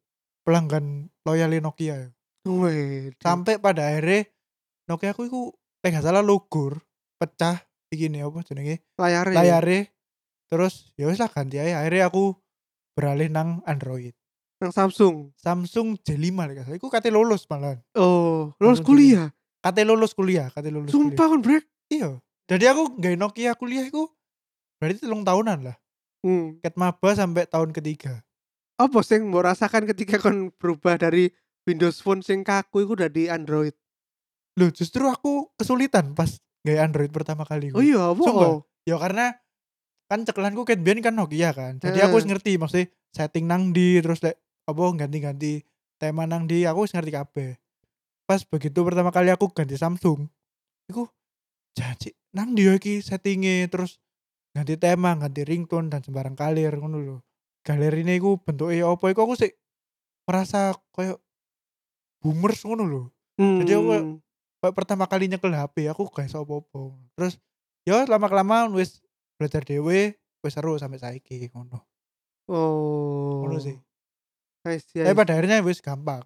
B: pelanggan loyal Nokia. ya.
A: Wih,
B: Sampai pada akhirnya Nokia aku iku eh gak salah lugur, pecah iki nih apa jenenge?
A: layar
B: Layare. ya, Terus ya wis lah ganti aja. Akhirnya aku beralih nang Android.
A: nang Samsung.
B: Samsung J5 lek gak salah. Iku kate lulus malah.
A: Oh, lulus
B: Samsung
A: kuliah.
B: Kate lulus kuliah, kate lulus kuliah.
A: Sumpah kon brek.
B: Iya. Jadi aku nggak Nokia kuliah aku berarti telung tahunan lah.
A: Hmm.
B: Ket maba sampai tahun ketiga.
A: Apa sing mbok rasakan ketika kon berubah dari Windows Phone sing kaku iku dari Android?
B: Loh justru aku kesulitan pas nggak Android pertama kali.
A: Oh iya, apa?
B: Hmm. Sumpah.
A: oh?
B: Ya karena kan cekelanku ket biyen kan Nokia kan. Jadi
A: Heeh.
B: aku wis ngerti maksudnya setting nang di terus lek apa ganti-ganti tema nang di aku wis ngerti kabeh. Pas begitu pertama kali aku ganti Samsung, iku janji nang di ya iki settinge terus ganti tema, ganti ringtone dan sembarang kalir ngono lho. Galerine iku bentuke apa iku aku sih merasa koyo boomers ngono lho. Jadi aku-
A: Hmm.
B: Pak, pertama kali nyekel HP aku gak iso apa-apa. Terus ya lama kelamaan wis belajar dhewe, wis seru sampai saiki ngono.
A: Oh.
B: Ngono sih.
A: I see, I
B: Tapi pada akhirnya wis gampang.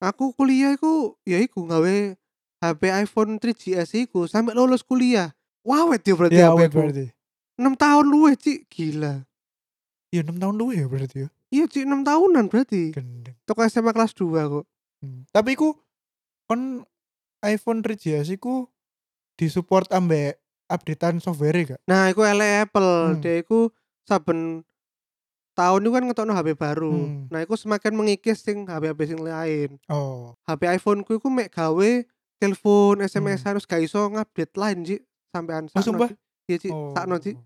A: ya, aku kuliah iku ya iku gawe HP iPhone 3GS iku sampai lulus kuliah. Wawet ya berarti
B: Ya
A: HP
B: awet
A: ku.
B: berarti.
A: 6 tahun luwih, Cik. Gila.
B: Ya 6 tahun dulu ya berarti ya.
A: Iya, Cik, 6 tahunan berarti.
B: Gendeng.
A: Toko SMA kelas 2 kok.
B: Hmm. Tapi ku kon iPhone 3GS ku disupport ambek updatean software gak?
A: Nah, iku elek Apple.
B: Hmm.
A: Dia iku saben tahun itu kan ngetokno HP baru.
B: Hmm.
A: Nah, iku semakin mengikis sing HP-HP sing lain.
B: Oh,
A: HP iPhone ku iku mek gawe telepon, SMS
B: Hmm.
A: harus gak iso ngupdate line, Cik. Sampean sakno,
B: sumpah?
A: Cik. Iya, Cik.
B: oh.
A: Sakno, Cik.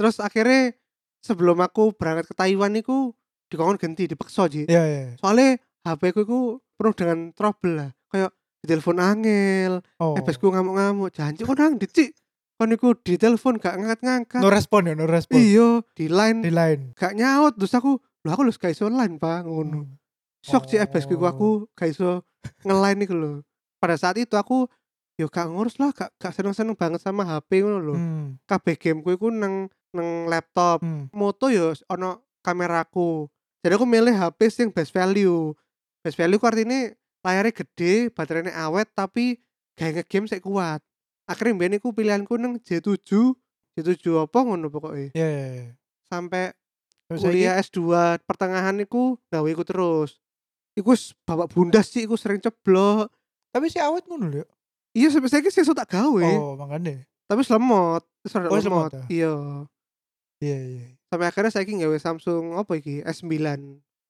A: Terus akhirnya sebelum aku berangkat ke Taiwan iku dikongkon ganti dipaksa, Cik.
B: Ya ya.
A: soalnya HP ku iku penuh dengan trouble lah kayak ditelepon angel
B: Oh.
A: oh. ku ngamuk-ngamuk janji kok nang dicik kon iku ditelepon gak ngangkat-ngangkat
B: no respon ya, no respon.
A: iya di line
B: Di lain.
A: gak nyaut terus aku lho aku lho gak iso line pak ngono
B: Hmm.
A: shock sih FPS ku iku,
B: Oh.
A: aku gak iso ngeline iku lho pada saat itu aku yo gak ngurus lah gak, gak seneng-seneng banget sama HP ngono lho
B: Hmm.
A: kabeh gameku iku nang nang laptop
B: Hmm.
A: moto yo ono kameraku jadi aku milih HP sing best value best value ku artinya layarnya gede baterainya awet tapi gaya ngegame saya kuat akhirnya mbak aku pilihanku neng J7 J7 apa ngono pokoknya
B: Ya ya. ya.
A: sampai
B: Terus saiki-
A: kuliah S2 pertengahan iku gawe iku terus iku wis babak bundas sih iku sering ceblok
B: Tapi si awet ngono lho. ya?
A: iya sampai saya sih tak gawe
B: Oh, makanya.
A: tapi selemot
B: Oh, wis lemot ya?
A: iya
B: Iya, iya.
A: sampai akhirnya saya gawe Samsung apa iki S9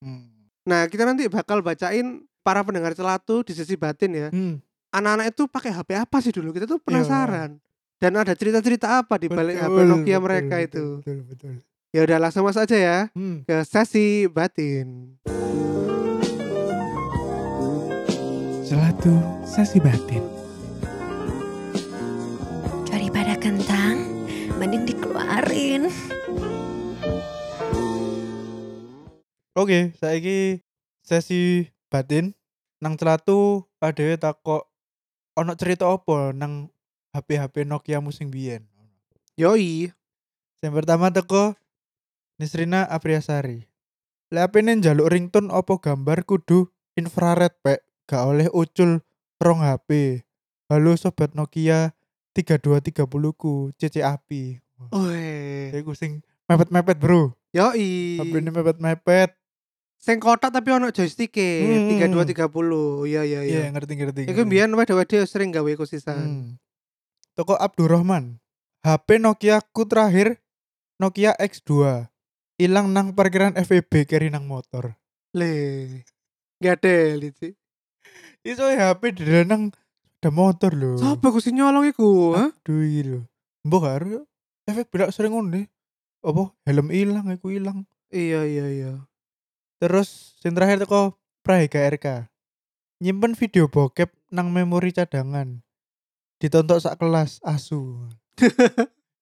B: Hmm.
A: Nah, kita nanti bakal bacain para pendengar celatu di sisi batin ya.
B: Hmm,
A: Anak-anak itu pakai HP apa sih dulu? Kita tuh penasaran. Dan ada cerita-cerita apa di balik HP
B: Iya. Betul,
A: Nokia
B: betul,
A: mereka
B: betul,
A: itu?
B: Betul, betul.
A: Ya udah langsung masuk aja ya
B: Hmm.
A: ke sesi batin.
B: Selatu sasi batin.
C: Daripada kentang, mending dikeluarin.
B: Oke, saiki sesi batin nang celatu ada takok ono cerita apa nang HP-HP Nokia musim biyen.
A: Yoi,
B: Yang pertama teko Nisrina Apriasari. Lah apine njaluk ringtone apa gambar kudu infrared pek, gak oleh ucul rong HP. Halo sobat Nokia 3230 ku CC api.
A: Weh.
B: Iku sing mepet-mepet, Bro.
A: yoi.
B: HP ini mepet-mepet.
A: Sing kotak tapi ono joystick
B: Hmm.
A: tiga dua tiga puluh. Iya iya iya.
B: Iya, ngerti-ngerti.
A: Iku mbiyen wede-wede sering gawe iku sisan.
B: Hmm. Toko Abdurrahman. HP Nokia ku terakhir Nokia X2. Hilang nang parkiran FEB keri nang motor.
A: Le. Gak ada sih.
B: Iso ya, HP direnang sepeda motor lho.
A: Sopo ku sing nyolong iku? Hah?
B: Aduh iki lho. Mbok karo yo. efek belak sering ngene. Apa helm ilang aku ilang.
A: Iya iya iya.
B: Terus sing terakhir teko Prahega RK. Nyimpen video bokep nang memori cadangan. Ditonton sak kelas asu.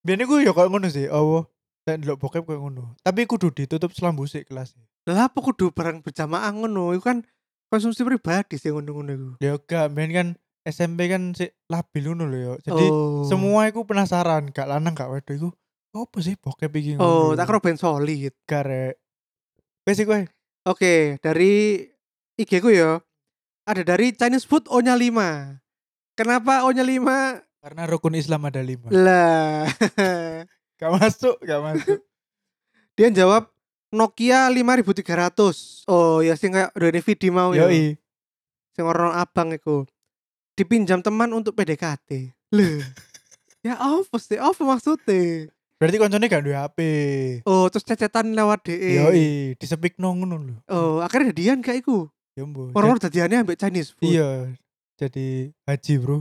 B: Biyen iku yo koyo ngono sih. Apa nek ndelok bokep koyo ngono. Tapi kudu ditutup selambu sik kelas.
A: lah apa kudu barang berjamaah ngono iku kan konsumsi pribadi sih ngono-ngono iku
B: Ya gak men kan SMP kan sik labil ngono lho yo. Jadi
A: Oh.
B: semua aku penasaran gak lanang gak wedo iku Apa sih bokep iki?
A: Oh,
B: ngono?
A: tak kira band solid.
B: karek. Wes iki kowe.
A: Oke, dari IG ku ya. Ada dari Chinese food Onya 5. Kenapa Onya 5?
B: Karena rukun Islam ada lima.
A: Lah. [laughs]
B: Gak masuk, gak masuk.
A: Dia jawab Nokia 5300. Oh, ya sing kayak Renevidi mau ya.
B: Yoi.
A: Sing orang abang iku. Dipinjam teman untuk PDKT.
B: [laughs]
A: Lho. ya apa sih? Apa maksudnya?
B: Berarti koncone gak duwe HP.
A: Oh, terus cecetan lewat DE.
B: Yoi, disepikno ngono lho.
A: Iya. Oh, akhirnya dadian kayak iku.
B: Ya mbok.
A: Orang-orang dadiannya ambek Chinese food.
B: Iya, jadi haji
A: [laughs]
B: bro.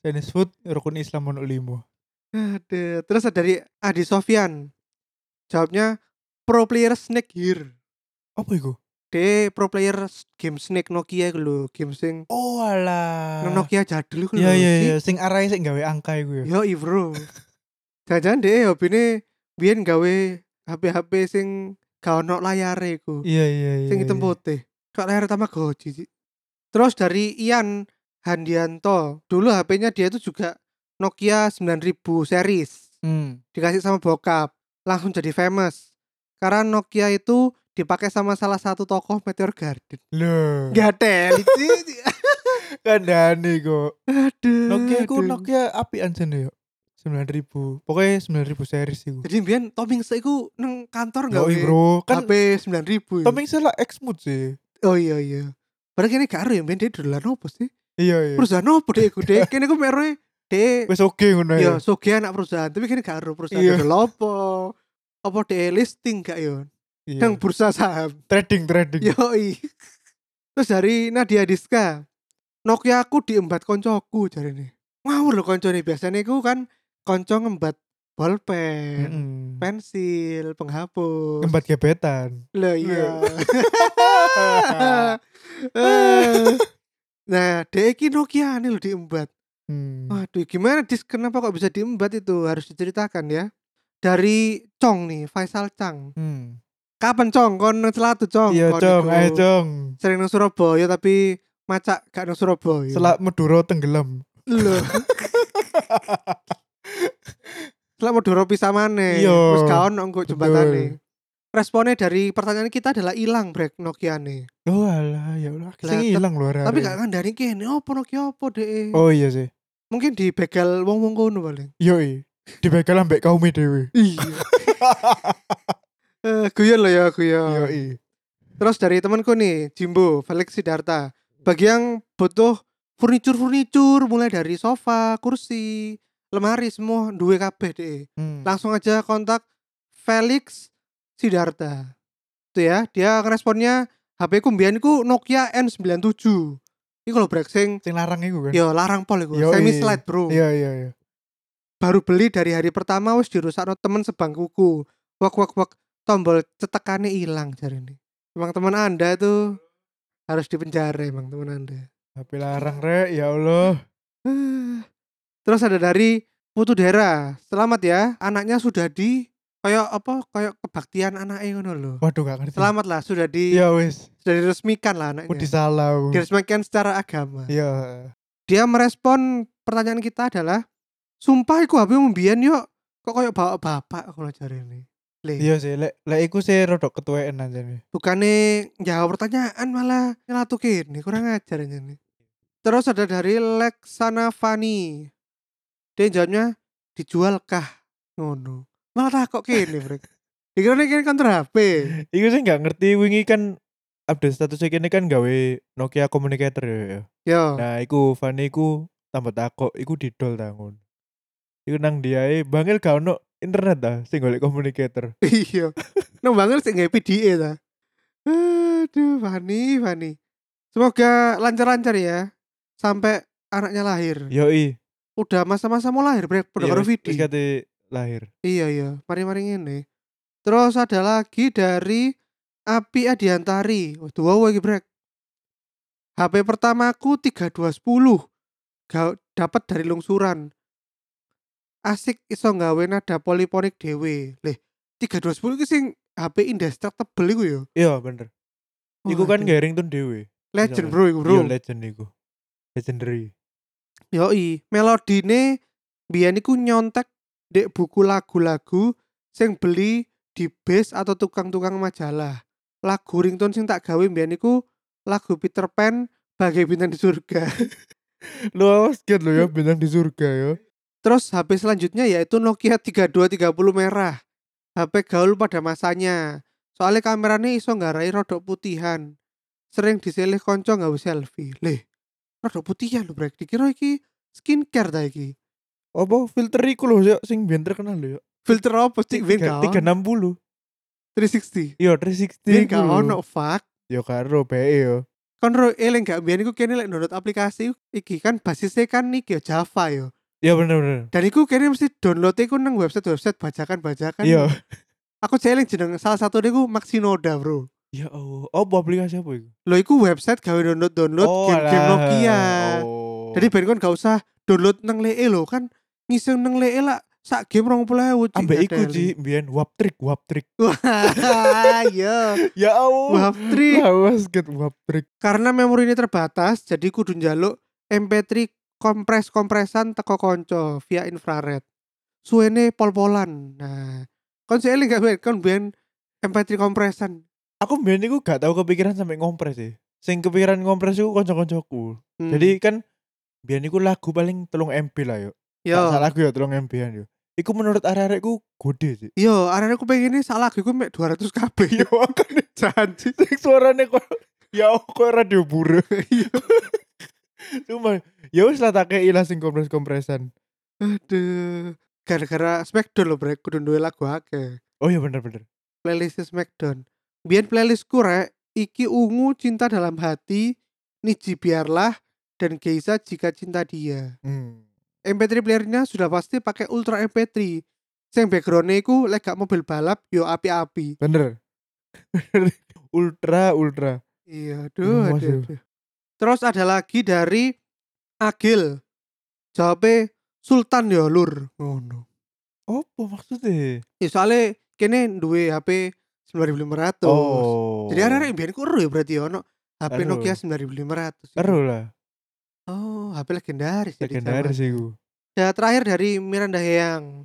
B: Chinese food rukun Islam ono limo.
A: Ada. Terus ada dari Adi Sofyan. Jawabnya pro player Snake here.
B: Apa iku?
A: De pro player s- game Snake Nokia iku lho, game sing
B: Oh alah.
A: nang Nokia jadul iku lho. Iya.
B: Iya iya
A: Si-
B: iya, sing arahe sing gawe angka iku ya.
A: Yo i, bro. Jangan-jangan deh hobine biyen gawe HP-HP sing gak ono layare iku.
B: Iya iya iya.
A: Sing hitam
B: iya.
A: putih. Kok layar utama goji sih. Terus dari Ian Handianto. Dulu HP-nya dia itu juga Nokia 9000 series.
B: Hmm.
A: dikasih sama bokap langsung jadi famous karena Nokia itu dipakai sama salah satu tokoh Meteor Garden
B: Loh,
A: gak
B: ya,
A: ada lucu.
B: kandhane kok.
A: [laughs] aduh
B: Nokia iku
A: aduh.
B: Nokia apian jane yo. 9000. Pokoknya 9000 series iku.
A: jadi biar Toming iku neng kantor gak
B: Yoi bro, kan
A: HP 9000 ya?
B: Toming lah ex mood sih.
A: oh iya iya padahal kini gak ada ya biar dia dolan apa sih
B: Iya iya.
A: perusahaan apa deh aku deh kini aku meroy deh
B: wes oke ngono
A: ya
B: ya.
A: soge anak perusahaan tapi kini gak ada perusahaan
B: Iya.
A: dodol apa apa deh listing gak ya
B: Iya.
A: nang bursa saham
B: trading trading.
A: Yoi. Terus dari Nadia Diska. Nokia aku diembat koncoku jari ini. Ngawur loh konco Biasanya aku kan konco ngembat bolpen,
B: Mm-mm.
A: pensil, penghapus.
B: Tempat
A: [laughs]
B: gebetan.
A: Loh iya.
B: iya.
A: [laughs] Eh. nah, dek iki Nokia ini loh diembat.
B: Hmm.
A: Waduh, gimana Dis? Kenapa kok bisa diembat itu? Harus diceritakan ya. Dari Cong nih, Faisal Cang.
B: Hmm.
A: Kapan Cong? Kon nang Celatu Cong.
B: Iya
A: Kon
B: cong,
A: iku.
B: ayo cong.
A: sering nang Surabaya tapi macak gak nang Surabaya.
B: Selak Madura tenggelam. [laughs]
A: lho. Selak Madura pisah maneh.
B: Iya.
A: Terus gak ono engko
B: Betul.
A: jembatane. Responnya dari pertanyaan kita adalah hilang brek Nokiane.
B: Oh alah, ya Allah.
A: Lah,
B: Sing
A: tep-
B: hilang luar.
A: Tapi gak ngandani kene opo Nokia opo deh.
B: Oh iya sih.
A: Mungkin dibegal wong-wong kono paling.
B: Yoi. Dibegal ambek kaum dewe.
A: Iya. Eh, guyon loh ya guyon.
B: Yoi.
A: Terus dari temanku nih, Jimbo, Felix Sidarta. Bagi yang butuh furnitur-furnitur mulai dari sofa, kursi, lemari semua duwe kabeh deh.
B: Hmm.
A: Langsung aja kontak Felix Sidarta. Itu ya, dia responnya HP ku mbiyen ku Nokia N97. Iku lho brek sing
B: Sing larang iku kan.
A: yo larang pol iku,
B: Yoi.
A: semi slide, Bro.
B: Iya iya iya.
A: Baru beli dari hari pertama wis dirusakno temen sebangkuku. Wak wak wak tombol cetekane ilang jarene. Emang teman Anda itu harus dipenjara emang teman Anda.
B: HP larang rek, ya Allah.
A: Ah. Terus ada dari Putu Dera. Selamat ya, anaknya sudah di kayak apa? Kayak kebaktian anaknya ngono lho.
B: Waduh gak ngerti.
A: Selamat lah sudah di ya?
B: Iya wis.
A: sudah diresmikan lah
B: Udah
A: anaknya.
B: salah. aku.
A: Diresmikan secara agama.
B: Iya.
A: Dia merespon pertanyaan kita adalah sumpah iku HP mbiyen yo kok kayak bawa bapak kalau cari ini. Le,
B: Iya sih, lek lek iku sih rodok ketuaan aja nih.
A: bukannya jawab pertanyaan malah nyelatukin ini kurang ajar ini. Terus ada dari Lexana Fani. Dia jawabnya dijual kah? Ngono. Malah takok kene, Brek. Dikira ini kene kantor HP.
B: Iku sih gak ngerti wingi kan update statusnya kini kan gawe Nokia communicator ya. ya. [laughs]
A: Yo.
B: Nah, iku Fani iku tambah takok, iku didol tangun. Iku nang diae bangil gak ono internet ta sing golek communicator.
A: Iya. Nang banget sih nggak PDA ta. Aduh, Fani, Fani. Semoga lancar-lancar ya sampai anaknya lahir.
B: Yoi.
A: Udah masa-masa mau lahir, Brek. Udah
B: Iya,
A: karo
B: wis-
A: Vidi.
B: wis kate lahir.
A: Iya iya, mari-mari ngene. Terus ada lagi dari Api Adiantari. Waduh, wow iki brek. HP pertamaku 3210. Ga dapat dari lungsuran. Asik iso nggawe nada poliponik dhewe. Lih, 3210 iki sing HP indestructible iku ya.
B: Iya, bener. Iku kan
A: Waduh,
B: garing tuh dewe.
A: legend bro iku bro.
B: Iya, legend iku. Legendary.
A: Yoi, melodine biyen iku nyontek dek buku lagu-lagu sing beli di base atau tukang-tukang majalah. Lagu ringtone sing tak gawe mbiyen iku lagu Peter Pan bagai bintang di surga. [laughs]
B: Lu awas kan lu ya bintang di surga ya.
A: Terus HP selanjutnya yaitu Nokia 3230 merah. HP gaul pada masanya. Soalnya kameranya iso nggarai rodok putihan. Sering diselih konco nggawe selfie. Leh, rodok putihan lho brek. Dikira iki skincare ta iki.
B: Apa filter iku lho ya sing biyen terkenal lho ya.
A: Filter apa sih ben
B: Tiga-
A: gak ono? 360.
B: 360. Iya 360.
A: Ben
B: iku
A: gak
B: lho.
A: ono fuck.
B: Ya karo PE yo.
A: Kon ro eling gak biyen iku kene lek download aplikasi iki kan basisnya kan iki yo Java yo.
B: Ya bener bener.
A: Dan iku kene mesti download iku nang website-website bajakan-bajakan.
B: Iya.
A: Aku jeling jeneng salah satu niku Maxinoda, Bro.
B: Ya Allah. Apa aplikasi apa iku?
A: Lo iku website gawe download download
B: Oh,
A: game-game
B: alah.
A: Nokia.
B: Oh.
A: Jadi ben kon gak usah download nang lee lo kan ngiseng nang lee lah sak game rong puluh ewu Cik,
B: ambek iku
A: ngadeli.
B: Ji biyen wap trick wap trick.
A: [laughs] Wah, Iya
B: Ya
A: Wah,
B: Allah.
A: tri.
B: Awas kan wap trick.
A: Karena memori ini terbatas, jadi kudu njaluk MP3 kompres-kompresan teko konco via infrared. Suwene pol-polan. Nah, kon sik eling gak ben kon ben MP3 kompresan.
B: Aku biyen iku gak tau kepikiran sampai ngompres sih. Sing kepikiran ngompres iku kanca-kancaku.
A: Hmm,
B: Jadi kan biyen iku lagu paling telung MB lah yo. Tak
A: yo,
B: salah aku ya telung MB-an yo. Iku menurut arek-arekku gede sih.
A: yo, arek aku pengen ini salah aku mek 200 KB.
B: Iya makanya
A: Janji.
B: sing suarane kok ya Allah, kok radio buru. Cuma ya wis lah tak kei lah sing kompres-kompresan.
A: [laughs] Aduh. Gara-gara Smackdown loh brek, kudu duwe lagu akeh.
B: Oh iya bener-bener.
A: Playlist Smackdown. Biyen playlistku rek, iki ungu cinta dalam hati, Niji biarlah dan Geisa jika cinta dia.
B: Hmm.
A: MP3 playernya sudah pasti pakai Ultra MP3. Sing backgroundnya iku lek gak mobil balap yo api-api.
B: Bener. [laughs] ultra ultra.
A: Iya, aduh,
B: Hmm,
A: aduh,
B: waduh.
A: aduh. Terus ada lagi dari Agil. Jawabnya Sultan yo lur. Ngono.
B: Apa maksudnya?
A: Ya soalnya kene duwe HP 9500.
B: Oh.
A: Jadi arek-arek mbiyen ku ero ya berarti ya ono HP
B: Ero.
A: Nokia 9500.
B: Seru lah,
A: Oh, HP legendaris ya di
B: legendaris
A: zaman.
B: sih gue.
A: Dan terakhir dari Miranda Heyang.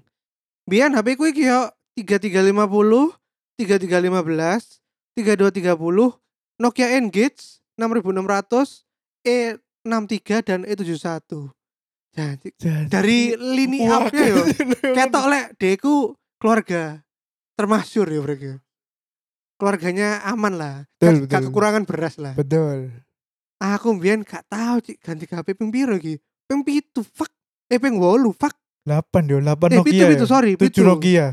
A: Biyen HP ku iki yo 3350, 3315, 3230, Nokia Engage 6600, E63 E dan E71. Jadi ya? dari lini
B: [laughs]
A: up-nya yo ketok lek deku keluarga termasyur ya mereka keluarganya aman lah gak,
B: Betul,
A: gak
B: betul.
A: kekurangan beras lah
B: Betul.
A: aku mbien gak tahu cik ganti HP ping piro iki ping pitu fuck eh ping wolu fuck
B: 8 yo, 8
A: eh
B: Nokia.
A: pitu pitu
B: ya.
A: sorry pitu
B: Tujuh Nokia.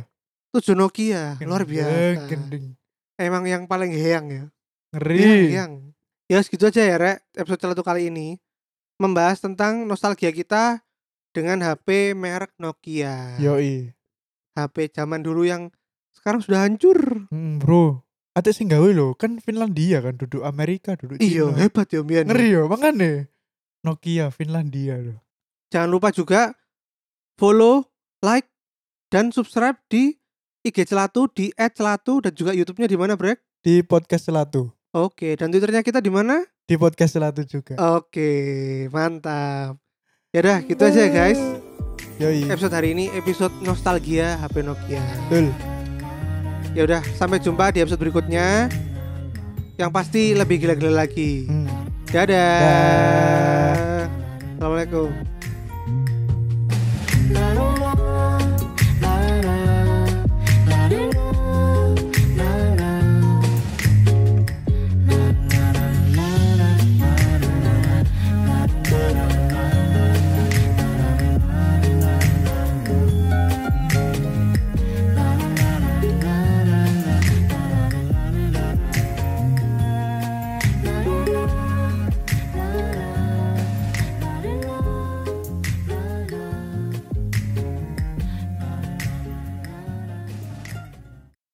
A: tujuh Nokia luar
B: Gendeng,
A: biasa
B: Gendeng.
A: emang yang paling heyang ya
B: Ngeri.
A: heyang, heyang. ya segitu aja ya rek episode satu kali ini membahas tentang nostalgia kita dengan HP merek Nokia
B: Yoi.
A: HP zaman dulu yang sekarang sudah hancur
B: Mm, bro. Ate sing gawe lho, kan Finlandia kan duduk Amerika, duduk
A: Iya
B: Cina.
A: hebat ya Mian.
B: Ngeri yo, makane. Nokia Finlandia lho.
A: Jangan lupa juga follow, like, dan subscribe di IG Celatu, di @celatu dan juga YouTube-nya di mana Brek?
B: Di podcast Selatu.
A: Oke, dan Twitternya kita di mana?
B: Di podcast Selatu juga.
A: Oke, mantap. Ya udah, gitu aja ya guys.
B: Yoi.
A: Episode hari ini episode nostalgia HP Nokia.
B: Betul.
A: Ya udah, sampai jumpa di episode berikutnya. Yang pasti lebih gila-gila lagi.
B: Hmm.
A: Dadah.
B: Dah.
A: Assalamualaikum.
C: La la la